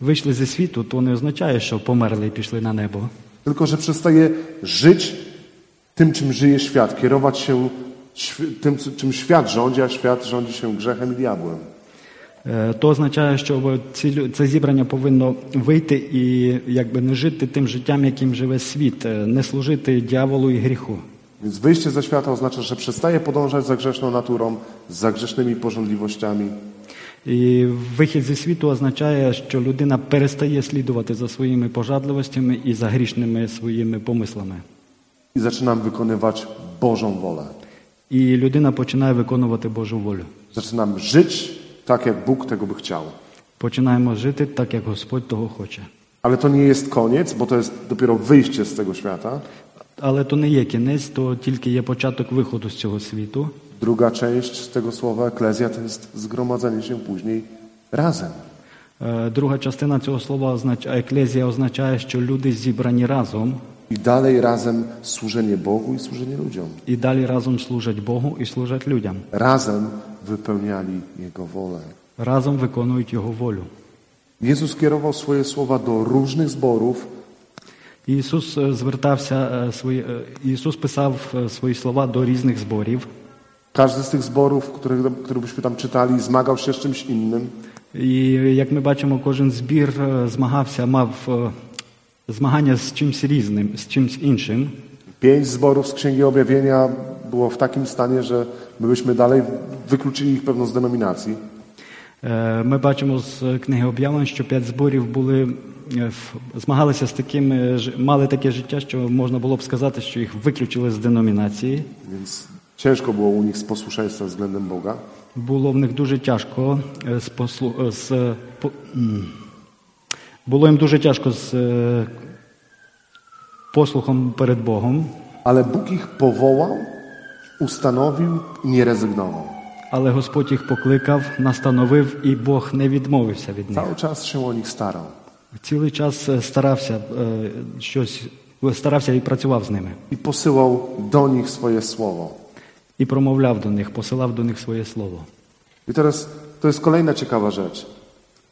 Вийшли зі світу, то не означає, що померли і пішли на небо. tylko że przestaje żyć tym, czym żyje świat, kierować się świ- tym, c- czym świat rządzi, a świat rządzi się grzechem i diabłem. Е, То означає, що ви- ці лю- це зібрання повинно вийти і якби не жити тим життям, яким живе світ, е, не служити дьяволу і гріху. Więc wyjście ze świata oznacza, że przestaje podążać za grzeszną naturą, za grzesznymi pożądliwościami, І вихід зі світу означає, що людина перестає слідувати за своїми пожадливостями і за грішними своїми помислами. i zaczynam wykonywać Bożą wolę. І людина починає виконувати Божу волю. Zaczynam żyć tak, jak Bóg tego by chciał. Починаємо жити так, як Господь того хоче. Ale to nie jest koniec, bo to jest dopiero wyjście z tego świata. Але то не є кінець, то тільки є початок виходу з цього світу. Druga część tego słowa eklezja to jest zgromadzenie się później razem. Е, Друга частина цього слова означає еклезія означає, що люди зібрані разом I dalej razem służenie Bogu i służenie ludziom. і далі разом служать Богу і служать людям. Razem wypełniali Jego wolę. Разом виконують Його волю. Jezus kierował swoje słowa do różnych zborów, Ісус е, звертався е, свої е, Ісус писав е, свої слова до різних зборів, Każdy z tych zborów, których, które byśmy tam czytali, zmagał się z czymś innym. І як ми бачимо, кожен збір е, змагався, мав е, змагання з чимсь різним, з чимсь іншим. Pięć zborów z Księgi Objawienia było w takim stanie, że my byśmy dalej wykluczyli ich pewno z denominacji. Е, Ми бачимо з книги об'явлень, що п'ять зборів були е, в- змагалися з такими ж- мали таке життя, що можна було б сказати, що їх виключили з деномінації. Więc ciężko było u nich z posłuszeństwem względem Boga. Було в них дуже тяжко е, з послу е, з е, по- м. було їм дуже тяжко з е, послухом перед Богом, Ale Bóg ich powołał, ustanowił i nie rezygnował. але Господь їх покликав, настановив, і Бог не відмовився від них. Cały czas się o nich starał. Цілий час е, старався е, щось е, старався і працював з ними. I posyłał do nich swoje słowo. І промовляв до них, посилав до них своє слово. I teraz to jest kolejna ciekawa rzecz.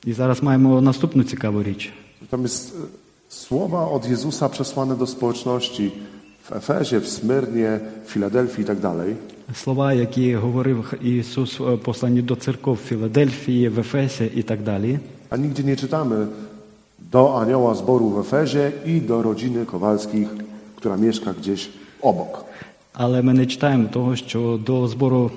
І зараз маємо наступну цікаву річ. Tam jest e, słowa od Jezusa przesłane do społeczności w Efezie, w Smyrnie, w Filadelfii i tak dalej. Слова, які говорив Ісус е, послані до церков в Філадельфії, в Ефесі і так далі. A nigdzie nie czytamy do anioła zboru w Efezie i do rodziny Kowalskich, która mieszka gdzieś obok. Але ми не читаємо того, що до збору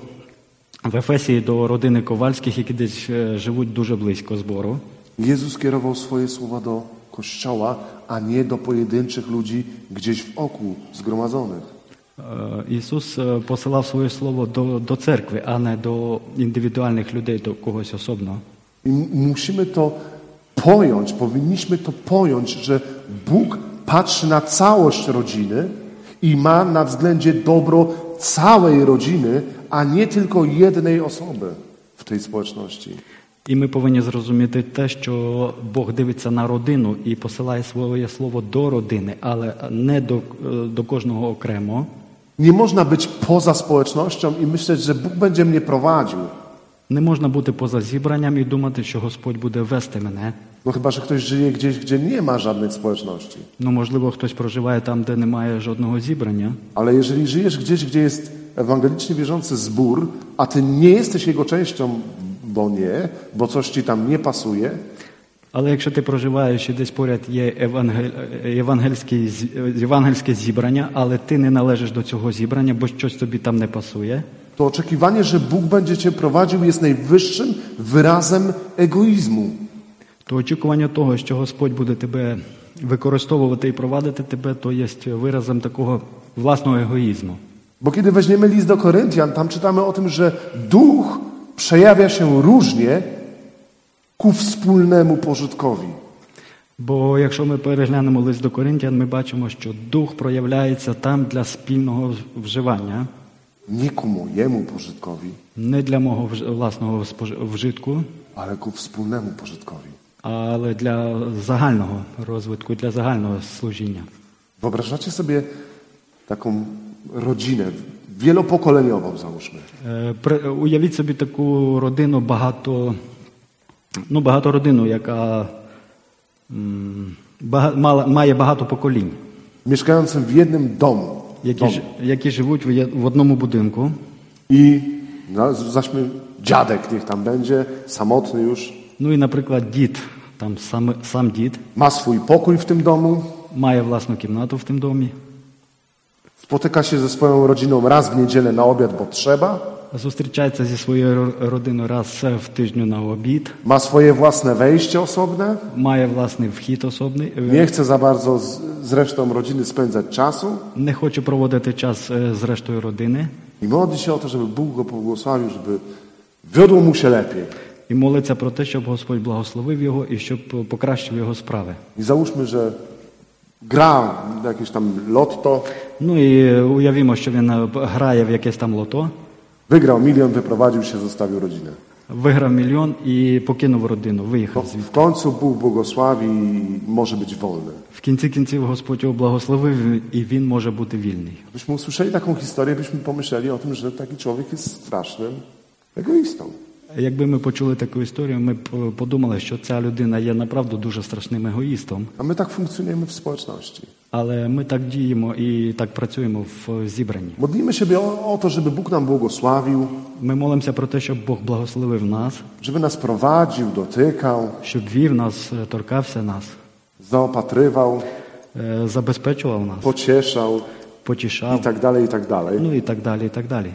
в Ефесії до родини Ковальських, які десь е, живуть дуже близько збору. е, Jezus kierował swoje słowa do kościoła, a nie do pojedynczych ludzi gdzieś w oku zgromadzonych. Е, Ісус е, посилав своє слово до, до церкви, а не до індивідуальних людей, до когось особно. I m- musimy to pojąć, powinniśmy to pojąć, że Bóg patrzy na całość rodziny i ma na względzie dobro całej rodziny, a nie tylko jednej osoby w tej społeczności. І ми повинні зрозуміти те, що Бог дивиться на родину і посилає своє слово до родини, але не до, е, до кожного окремо. Nie można być poza społecznością i myśleć, że Bóg będzie mnie prowadził. Не можна бути поза зібранням і думати, що Господь буде вести мене. No chyba, że ktoś żyje gdzieś, gdzie nie ma żadnej społeczności. Ну, можливо, хтось проживає там, де немає жодного зібрання. Ale jeżeli żyjesz gdzieś, gdzie jest ewangelicznie wierzący zbór, a ty nie jesteś jego częścią, bo nie, bo coś ci tam nie pasuje, Але якщо ти проживаєш і десь поряд є евангель... е, євангельський з- е, євангельське зібрання, але ти не належиш до цього зібрання, бо щось тобі там не пасує, to oczekiwanie, że Bóg będzie cię prowadził, jest najwyższym wyrazem egoizmu. то очікування того, що Господь буде тебе використовувати і провадити тебе, то є виразом такого власного егоїзму. Bo kiedy weźmiemy list do Koryntian, tam czytamy o tym, że duch przejawia się różnie ku wspólnemu pożytkowi. Бо якщо ми переглянемо лист до Коринтян, ми бачимо, що дух проявляється там для спільного вживання, Nie ku mojemu pożytkowi, не для мого вж- власного спож- вжитку, ale ku wspólnemu pożytkowi. але для загального розвитку, для загального служіння. Wyobrażacie sobie taką rodzinę wielopokoleniową, załóżmy. Е, при- Уявіть собі таку родину багато, ну, багато родину, яка м, бага- мала- має багато поколінь, Mieszkającym в jednym domu. які, ж- які живуть в є- в одному будинку. I no, zaśmy dziadek niech tam będzie, samotny już, Ну і, наприклад, дід, там сам, сам дід, ma swój pokój w tym domu, має власну кімнату в тим домі, spotyka się ze swoją rodziną raz w niedzielę na obiad, bo trzeba, зустрічається зі своєю ро- родиною раз в тижню на обід, ma swoje własne wejście osobne, має власний wхід особний, е, nie chce za bardzo z, z resztą rodziny spędzać czasu не хоче проводити час е, з рештою родини i modli się o to, żeby Bóg go pobłogosławił, żeby wiodło mu się lepiej. і молиться про те, щоб Господь благословив його і щоб е, покращив його справи. I załóżmy, że gra w jakieś tam lotto, Ну і е, уявімо, що він е, грає в якесь там лото, wygrał milion, wyprowadził się, zostawił rodzinę. виграв мільйон і покинув родину, виїхав звідти. W końcu Bóg błogosławi i może być wolny. В кінці кінців Господь його благословив і він може бути wільний. Byśmy usłyszeli taką historię, byśmy pomyśleli o tym, że taki człowiek jest strasznym egoistą. якби ми почули таку історію, ми б е, подумали, що ця людина є направду дуже страшним егоїстом. A my tak funkcjonujemy w społeczności. Але ми так діємо і так працюємо в зібранні. Modlimy się o, o to, żeby Bóg nam błogosławił, Ми молимося про те, щоб Бог благословив нас, żeby nas prowadził, dotykał, щоб вів нас, е, торкався нас, zaopatrywał, е, забезпечував нас, pocieszał i потішав, tak dalej, i tak dalej. ну і так далі. І так далі.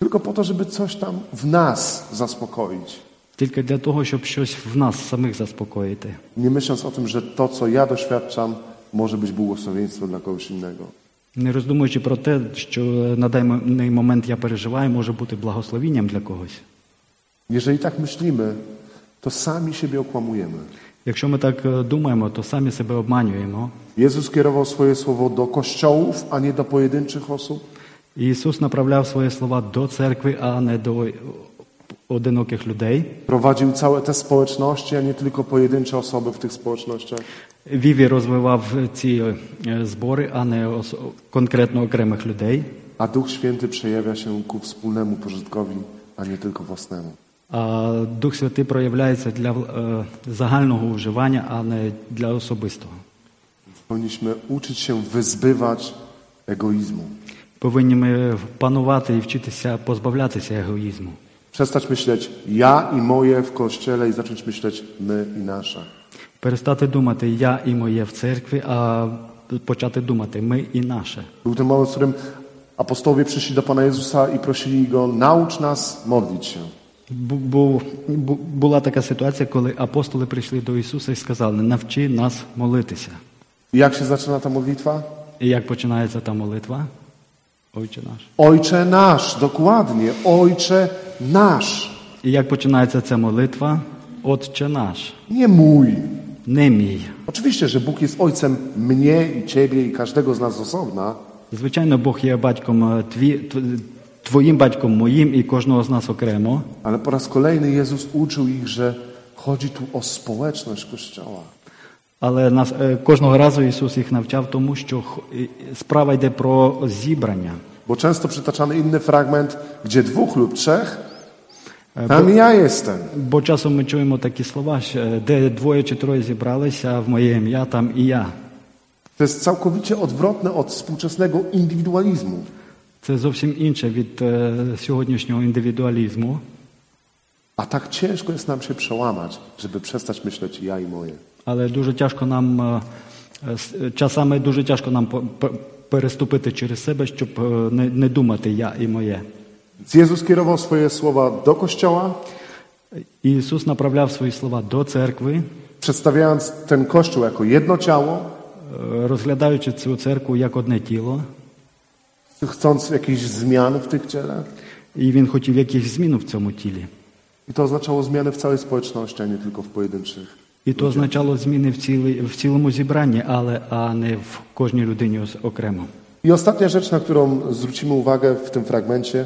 Tylko po to, żeby coś tam w nas zaspokoić. Тільки для того, щоб щось в нас самих zaspokоїти, Nie myśląc o tym, że to, co ja doświadczam, może być błogosławieństwem dla kogoś innego. не роздумуючи про те, що на даний момент я переживаю, може бути благословінням для когось. Jeżeli tak myślimy, to sami siebie okłamujemy. Якщо ми так е, думаємо, то самі себе обманюємо. Jezus kierował swoje słowo do kościołów, a nie do pojedynczych osób. І Ісус направляв свої слова до церкви, а не до е, одиноких людей. Prowadził całe te społeczności, a nie tylko pojedyncze osoby w tych społecznościach. Віві розвивав ці е, збори, а не ос- конкретно окремих людей. A Duch Święty przejawia się ku wspólnemu pożytkowi, a nie tylko własnemu. А Дух Святий проявляється для е, загального вживання, а не для особистого. Powinniśmy uczyć się wyzbywać egoizmu. Повинні ми панувати і вчитися позбавлятися егоїзму. Przestać myśleć ja i moje w kościele i zacząć myśleć my i nasze. Перестати думати я і моє в церкві, а почати думати ми і наше. Był ten moment, w którym apostołowie przyszli do Pana Jezusa i prosili Go, naucz nas modlić się. Бу- Був, бу- була така ситуація, коли апостоли прийшли до Ісуса і сказали: навчи нас молитися. I jak się zaczyna ta modlitwa? І як починається та молитва? Отче наш. Ojcze nasz, dokładnie, Ojcze nasz, І як починається ця молитва? Отче наш, nie mój. не мій. Oczywiście, że Bóg jest Ojcem mnie i Ciebie i każdego z nas osobna, Звичайно, Бог є батьком е, тві, тв- твоїм батьком моїм і кожного з нас окремо. ale po raz kolejny Jezus uczył ich, że chodzi tu o społeczność Kościoła. Але нас е, кожного разу Ісус їх навчав тому, що х- і- справа йде про зібрання. Bo często przytaczamy inny fragment, gdzie dwóch lub trzech, Е, tam ja jestem. Бо часом ми чуємо такі слова, що, е, де двоє чи троє зібралися в моє ім'я, там і я. To jest całkowicie odwrotne od współczesnego indywidualizmu. Це зовсім інше від е, сьогоднішнього індивідуалізму. A tak ciężko jest nam się przełamać, żeby przestać myśleć ja i moje. Але дуже тяжко нам е, е, с- е, часами дуже тяжко нам по- пе- переступити через себе, щоб е, не, не думати я і моє. Więc Jezus kierował swoje słowa do Kościoła, І Ісус направляв свої слова до церкви, przedstawiając ten Kościół jako jedno ciało, е, розглядаючи цю церкву як одне тіло. chcąc jakichś zmian w tych ciele. І він хотів якихось змін в цьому тілі. I to oznaczało zmiany w całej społeczności, a nie tylko w pojedynczych. І то означало зміни в, цілий, в цілому зібранні, але а не в кожній людині ос- окремо. I ostatnia rzecz, na którą zwrócimy uwagę w tym fragmencie,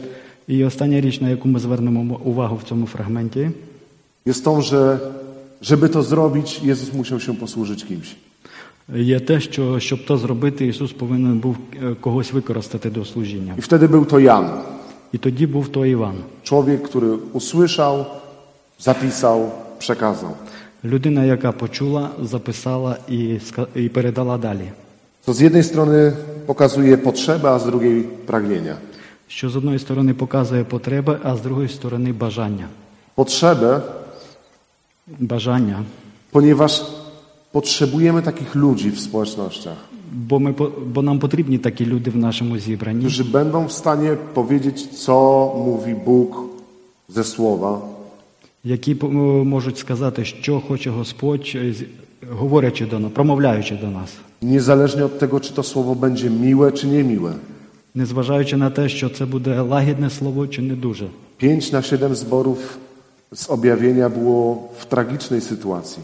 І остання річ, на яку ми звернемо м- увагу в цьому фрагменті, jest tą, że żeby to zrobić, Jezus musiał się posłużyć kimś. є те, що щоб то зробити, Ісус повинен був е, когось використати до служіння. I wtedy był to Jan, І тоді був той Іван, człowiek, który usłyszał, zapisał, przekazał. людина, яка почула, записала і, ска- і передала далі. Co z jednej strony pokazuje potrzebę, a z drugiej pragnienia. Що з одної сторони показує потреби, а з другої сторони бажання. Potrzebę, Бажання. ponieważ potrzebujemy takich ludzi w społecznościach, Бо ми по- бо нам потрібні такі люди в нашому зібранні. którzy będą w stanie powiedzieć, co mówi Bóg ze słowa, які по- м- можуть сказати, що хоче Господь, е, з- говорячи до нас, промовляючи до нас, niezależnie od tego, czy to słowo będzie miłe, czy niemiłe. незважаючи на те, що це буде лагідне слово чи не дуже. Pięć na siedem zborów z objawienia było w tragicznej sytuacji.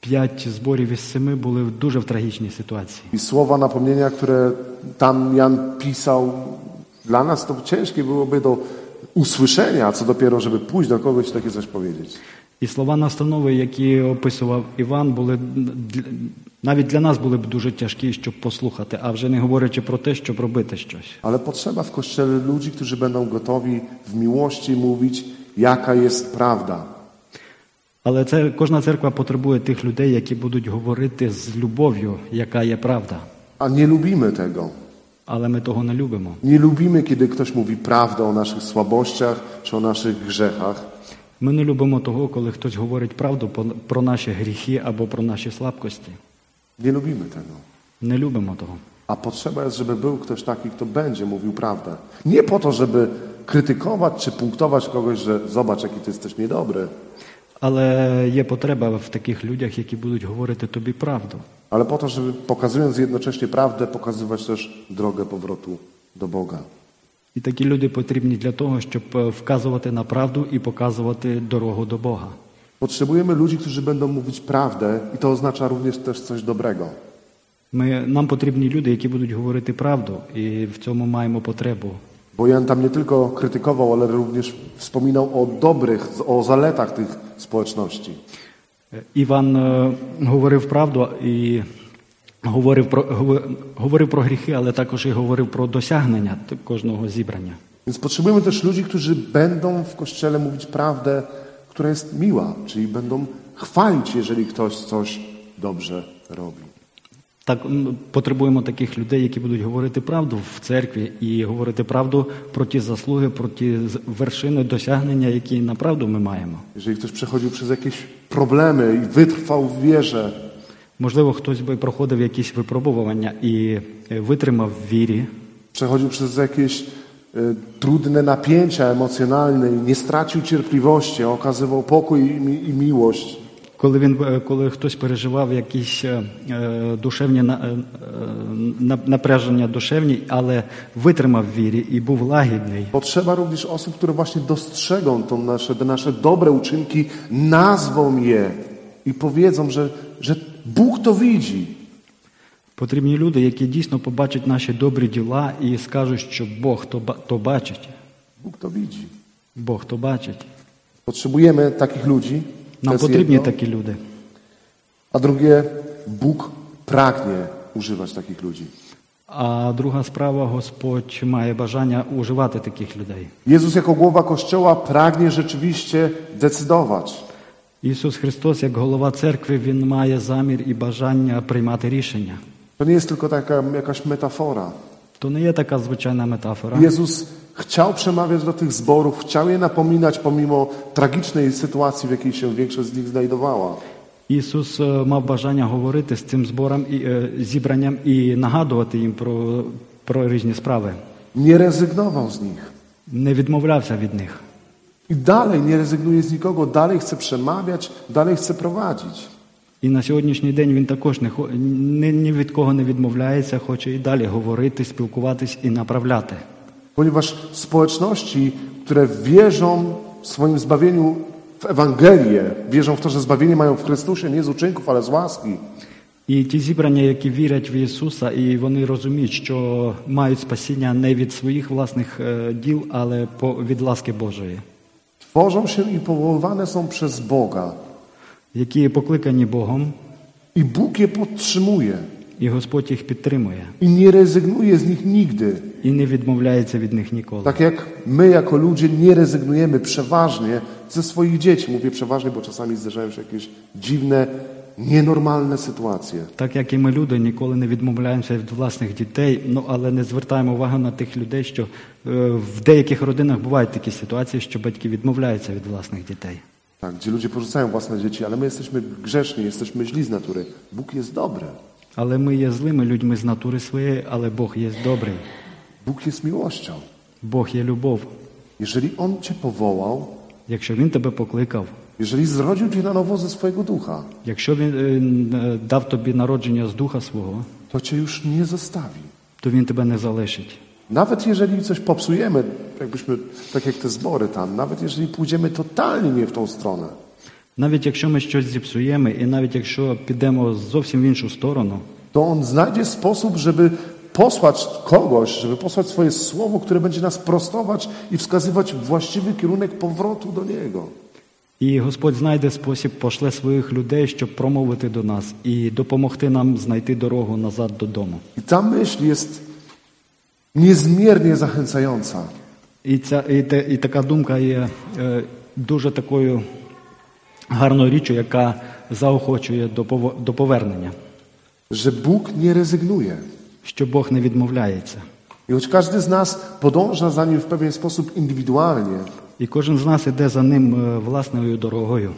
П'ять зборів із семи були в дуже в tragічній ситуації. I słowa napomnienia, które tam Jan pisał, dla nas to ciężkie byłoby do usłyszenia, a co dopiero, żeby pójść do kogoś i takie coś powiedzieć. І слова настанови, які описував Іван, були н- дл- навіть для нас були б дуже тяжкі, щоб послухати, а вже не говорячи про те, щоб робити щось. Ale potrzeba w kościele ludzi, którzy będą gotowi w miłości mówić jaka jest prawda. Але це кожна церква потребує тих людей, які будуть говорити з любов'ю, яка є правда. A nie lubimy tego. Але ми того не любимо. Nie lubimy, kiedy ktoś mówi prawdę o naszych słabościach czy o naszych grzechach. Ми не любимо того, коли хтось говорить правду по- про наші гріхи або про наші слабкості. Nie lubimy tego. Не любимо того. A potrzeba jest, żeby był ktoś taki, kto będzie mówił prawdę. Nie po to, żeby krytykować czy punktować kogoś, że zobacz, jaki ty jesteś niedobry, Але є потреба в таких людях, які будуть говорити тобі правду. ale po to, żeby pokazując jednocześnie prawdę, pokazywać też drogę powrotu do Boga. І такі люди потрібні для того, щоб е, вказувати на правду і показувати дорогу до Бога. Potrzebujemy ludzi, którzy będą mówić prawdę i to oznacza również też coś dobrego. Ми, нам потрібні люди, які будуть говорити правду, і в цьому маємо potrzebę. Bo Jan tam nie tylko krytykował, ale również wspominał o dobrych, o zaletach tych społeczności. Е, Іван е, говорив правду і говорив про, гово- говорив про гріхи, але також і говорив про досягнення т- кожного зібрання. Więc potrzebujemy też ludzi, którzy będą w kościele mówić prawdę, która jest miła, czyli będą chwalić, jeżeli ktoś coś dobrze robi. Так м, потребуємо таких людей, які будуть говорити правду в церкві і говорити правду про ті заслуги, про ті з- вершини досягнення, які направду ми маємо. Jeżeli ktoś przechodził przez jakieś problemy i wytrwał w wierze, Можливо, хтось би проходив якісь випробування і е, witримав в вірі, przechodził przez jakieś y, trudne napięcia emocjonalne i nie stracił cierpliwości, a okazywał pokój i, mi- i miłość, коли він е, коли хтось переживав якісь е, е, душевні на- е, е, на- напряження душевні, але витримав в вірі і був лагідний. Potrzeba również osób, które właśnie dostrzegą to nasze, te nasze dobre uczynki, nazwą je i powiedzą, że, że Bóg to widzi. Потрібні люди, які дійсно побачать наші добрі діла і скажуть, що Бог то, ба- то бачить. Bóg to widzi. Бог то бачить. Potrzebujemy takich ludzi. to Нам jest потрібні jedno. такі люди. A drugie, Bóg pragnie używać takich ludzi. А друга справа, Господь має бажання уживати таких людей. Jezus jako głowa Kościoła pragnie rzeczywiście decydować. Ісус Христос, як голова церкви, він має замір і бажання приймати рішення. To nie jest tylko taka jakaś metafora. То не є така звичайна метафора. Jezus chciał przemawiać do tych zborów, chciał je napominać pomimo tragicznej sytuacji, w jakiej się większość z nich znajdowała. Ісус е, мав бажання говорити з цим збором і е, зібранням і нагадувати їм про, про різні справи. Nie rezygnował z nich. Не відмовлявся від них. I dalej nie rezygnuje z nikogo, dalej chce przemawiać, dalej chce prowadzić. І на сьогоднішній день він також не хо- ні, ні від кого не відмовляється, хоче і далі говорити, спілкуватись і направляти. Ponieważ społeczności, które wierzą w swoim zbawieniu w Ewangelię, wierzą w to, że zbawienie mają w Chrystusie, nie z uczynków, ale z łaski, І ті зібрання, які вірять в Ісуса, і вони розуміють, що мають спасіння не від своїх власних е, діл, але по від ласки Божої, tworzą się i powoływane są przez Boga. які покликані Богом, I Bóg je podtrzymuje. і Господь їх підтримує I nie rezygnuje z nich nigdy. і не відмовляється від них ніколи. Tak jak my jako ludzie nie rezygnujemy przeważnie ze swoich dzieci. Mówię przeważnie, bo czasami zdarzają się jakieś dziwne, nienormalne sytuacje. Так як і ми люди ніколи не відмовляємося від власних дітей, ну але не звертаємо уваги на тих людей, що е, в деяких родинах бувають такі ситуації, що батьки відмовляються від власних дітей. Tak, gdzie ludzie porzucają własne dzieci, ale my jesteśmy grzeszni, jesteśmy źli z natury. Bóg jest dobry, Але ми є злими людьми з натури своєї, але Бог є добрий, Bóg jest miłością. Бог є любов. Jeżeli On Cię powołał, Якщо він тебе poklикав, jeżeli zrodził Cię na nowo ze swojego ducha, якщо він е, н- е, дав тобі народження з духа свого, to Cię już nie zostawi. то він тебе не залишить. Nawet jeżeli coś popsujemy, jakbyśmy, tak jak te zbory tam, nawet jeżeli pójdziemy totalnie nie w tą stronę, Навіть якщо ми щось зіпсуємо, і навіть якщо підемо зовсім в іншу сторону, to On znajdzie sposób, żeby posłać kogoś, żeby posłać swoje słowo, które będzie nas prostować i wskazywać właściwy kierunek powrotu do Niego. і Господь знайде спосіб, пошле своїх людей, щоб промовити до нас і допомогти нам знайти dорогу назад додому. I ta myśl jest niezmiernie zachęcająca. І, ця, і, те, і така думка є е, дуже такою гарною річчю, яка заохочує до пово- до poвернення, że Bóg nie rezygnuje. що Бог не відмовляється. I choć każdy z nas podąża za nim w pewien sposób indywidualnie, І кожен з нас іде за ним е, власною дорогою.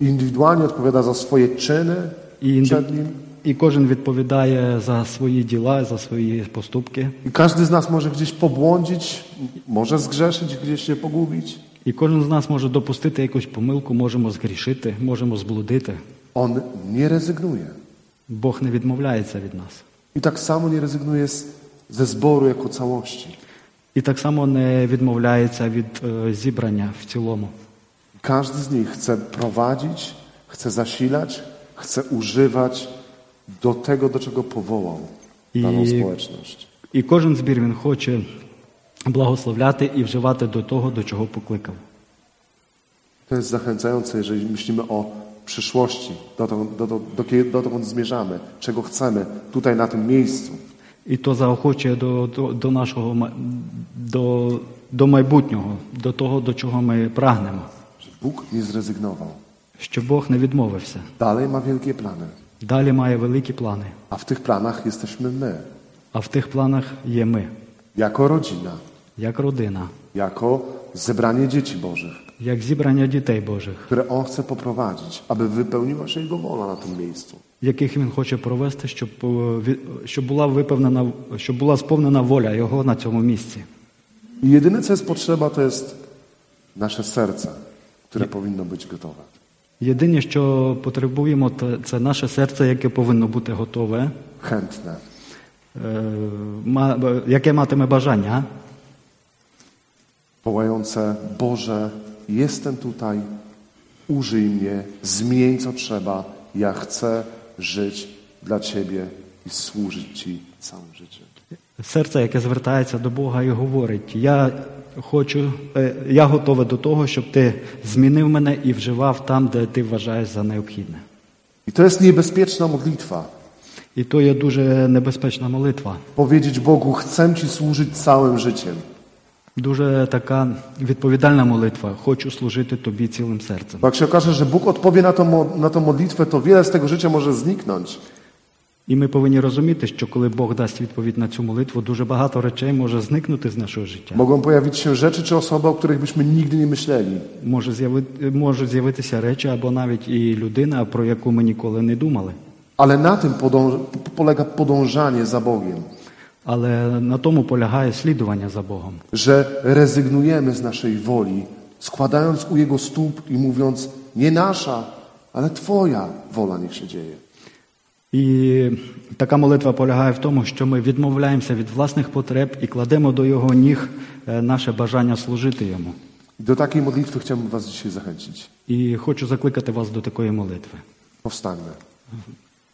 indywidualnie odpowiada za swoje czyny І, інди- przed nim, і кожен відповідає за свої діла, за свої postupки. i każdy z nas może gdzieś pobłądzić, m- może zgrzeszyć, gdzieś się pogubić. І кожен з нас може допустити якусь помилку, можемо згрішити, можемо зблудити. On nie rezygnuje. Бог не відмовляється від нас. I tak samo nie rezygnuje z, ze zboru jako całości. І так само не відмовляється від е, зібрання в цілому. Każdy z nich chce prowadzić, chce zasilać, chce używać do tego, do czego powołał I- daną społeczność. І кожен збір він хоче благословляти і вживати до того, до чого покликав. To jest zachęcające, jeżeli myślimy o przyszłości, dokąd, do, do, do, kie- dokąd zmierzamy, czego chcemy tutaj na tym miejscu. І то заохочує до, до, до нашого ма- до, до майбутнього, до того, до чого ми прагнемо. Że Bóg nie zrezygnował. Що Бог не відмовився. Dalej ma wielkie plany, Далі має великі плани, a w tych planach jesteśmy my, а в тих планах є ми, jako rodzina, як родина, jako zebranie dzieci Bożych, як zібрання дітей Божих, które On chce poprowadzić, aby wypełniła się Jego wola na tym miejscu. яких він хоче провести, щоб, е, ві- щоб була виповнена, щоб була сповнена воля його на цьому місці. I jedyne, co jest potrzeba, to jest nasze serce, które powinno być gotowe. Єдине, що потребуємо, те- це наше серце, яке powinno бути готове, Chętne, е, ма- б- яке матиме бажання. wołające: Boże, jestem tutaj, użyj mnie, zmień co trzeba. Ja chcę żyć dla Ciebie i służyć Ci całym życiem. Серце, яке звертається до Бога і говорить: Я хочу, е, я готове до того, щоб ти змінив мене і вживав там, де ти вважаєш за необхідне. I to jest niebezpieczna modlitwa. І то є дуже небезпечна молитва, Powiedzieć Bogu: Chcę Ci służyć całym życiem. дуже така відповідальна молитва. Хочу служити тобі цілим серцем. Bo jak się okaże, że Bóg odpowie na tą, mo- na tą modlitwę, to wiele z tego życia może zniknąć. І ми повинні розуміти, що коли Бог дасть відповідь на цю молитву, дуже багато речей може зникнути з нашого життя. Mogą pojawić się rzeczy czy osoby, o których byśmy nigdy nie myśleli. Може з'яви- можуть з'явитися речі або навіть і людина, про яку ми ніколи не думали. Ale na tym podąż- polega podążanie za Bogiem, Але на тому полягає слідування за Богом, że rezygnujemy z naszej woli, składając u Jego stóp i mówiąc: Nie nasza, ale Twoja wola niech się dzieje. і така молитва полягає в тому, що ми відмовляємося від власних потреб і кладемо до його ніг е, наше bажання служити йому. I do takiej modlitwy chciałbym Was dzisiaj zachęcić. І хочу закликати вас до такої молитви. Powstańmy.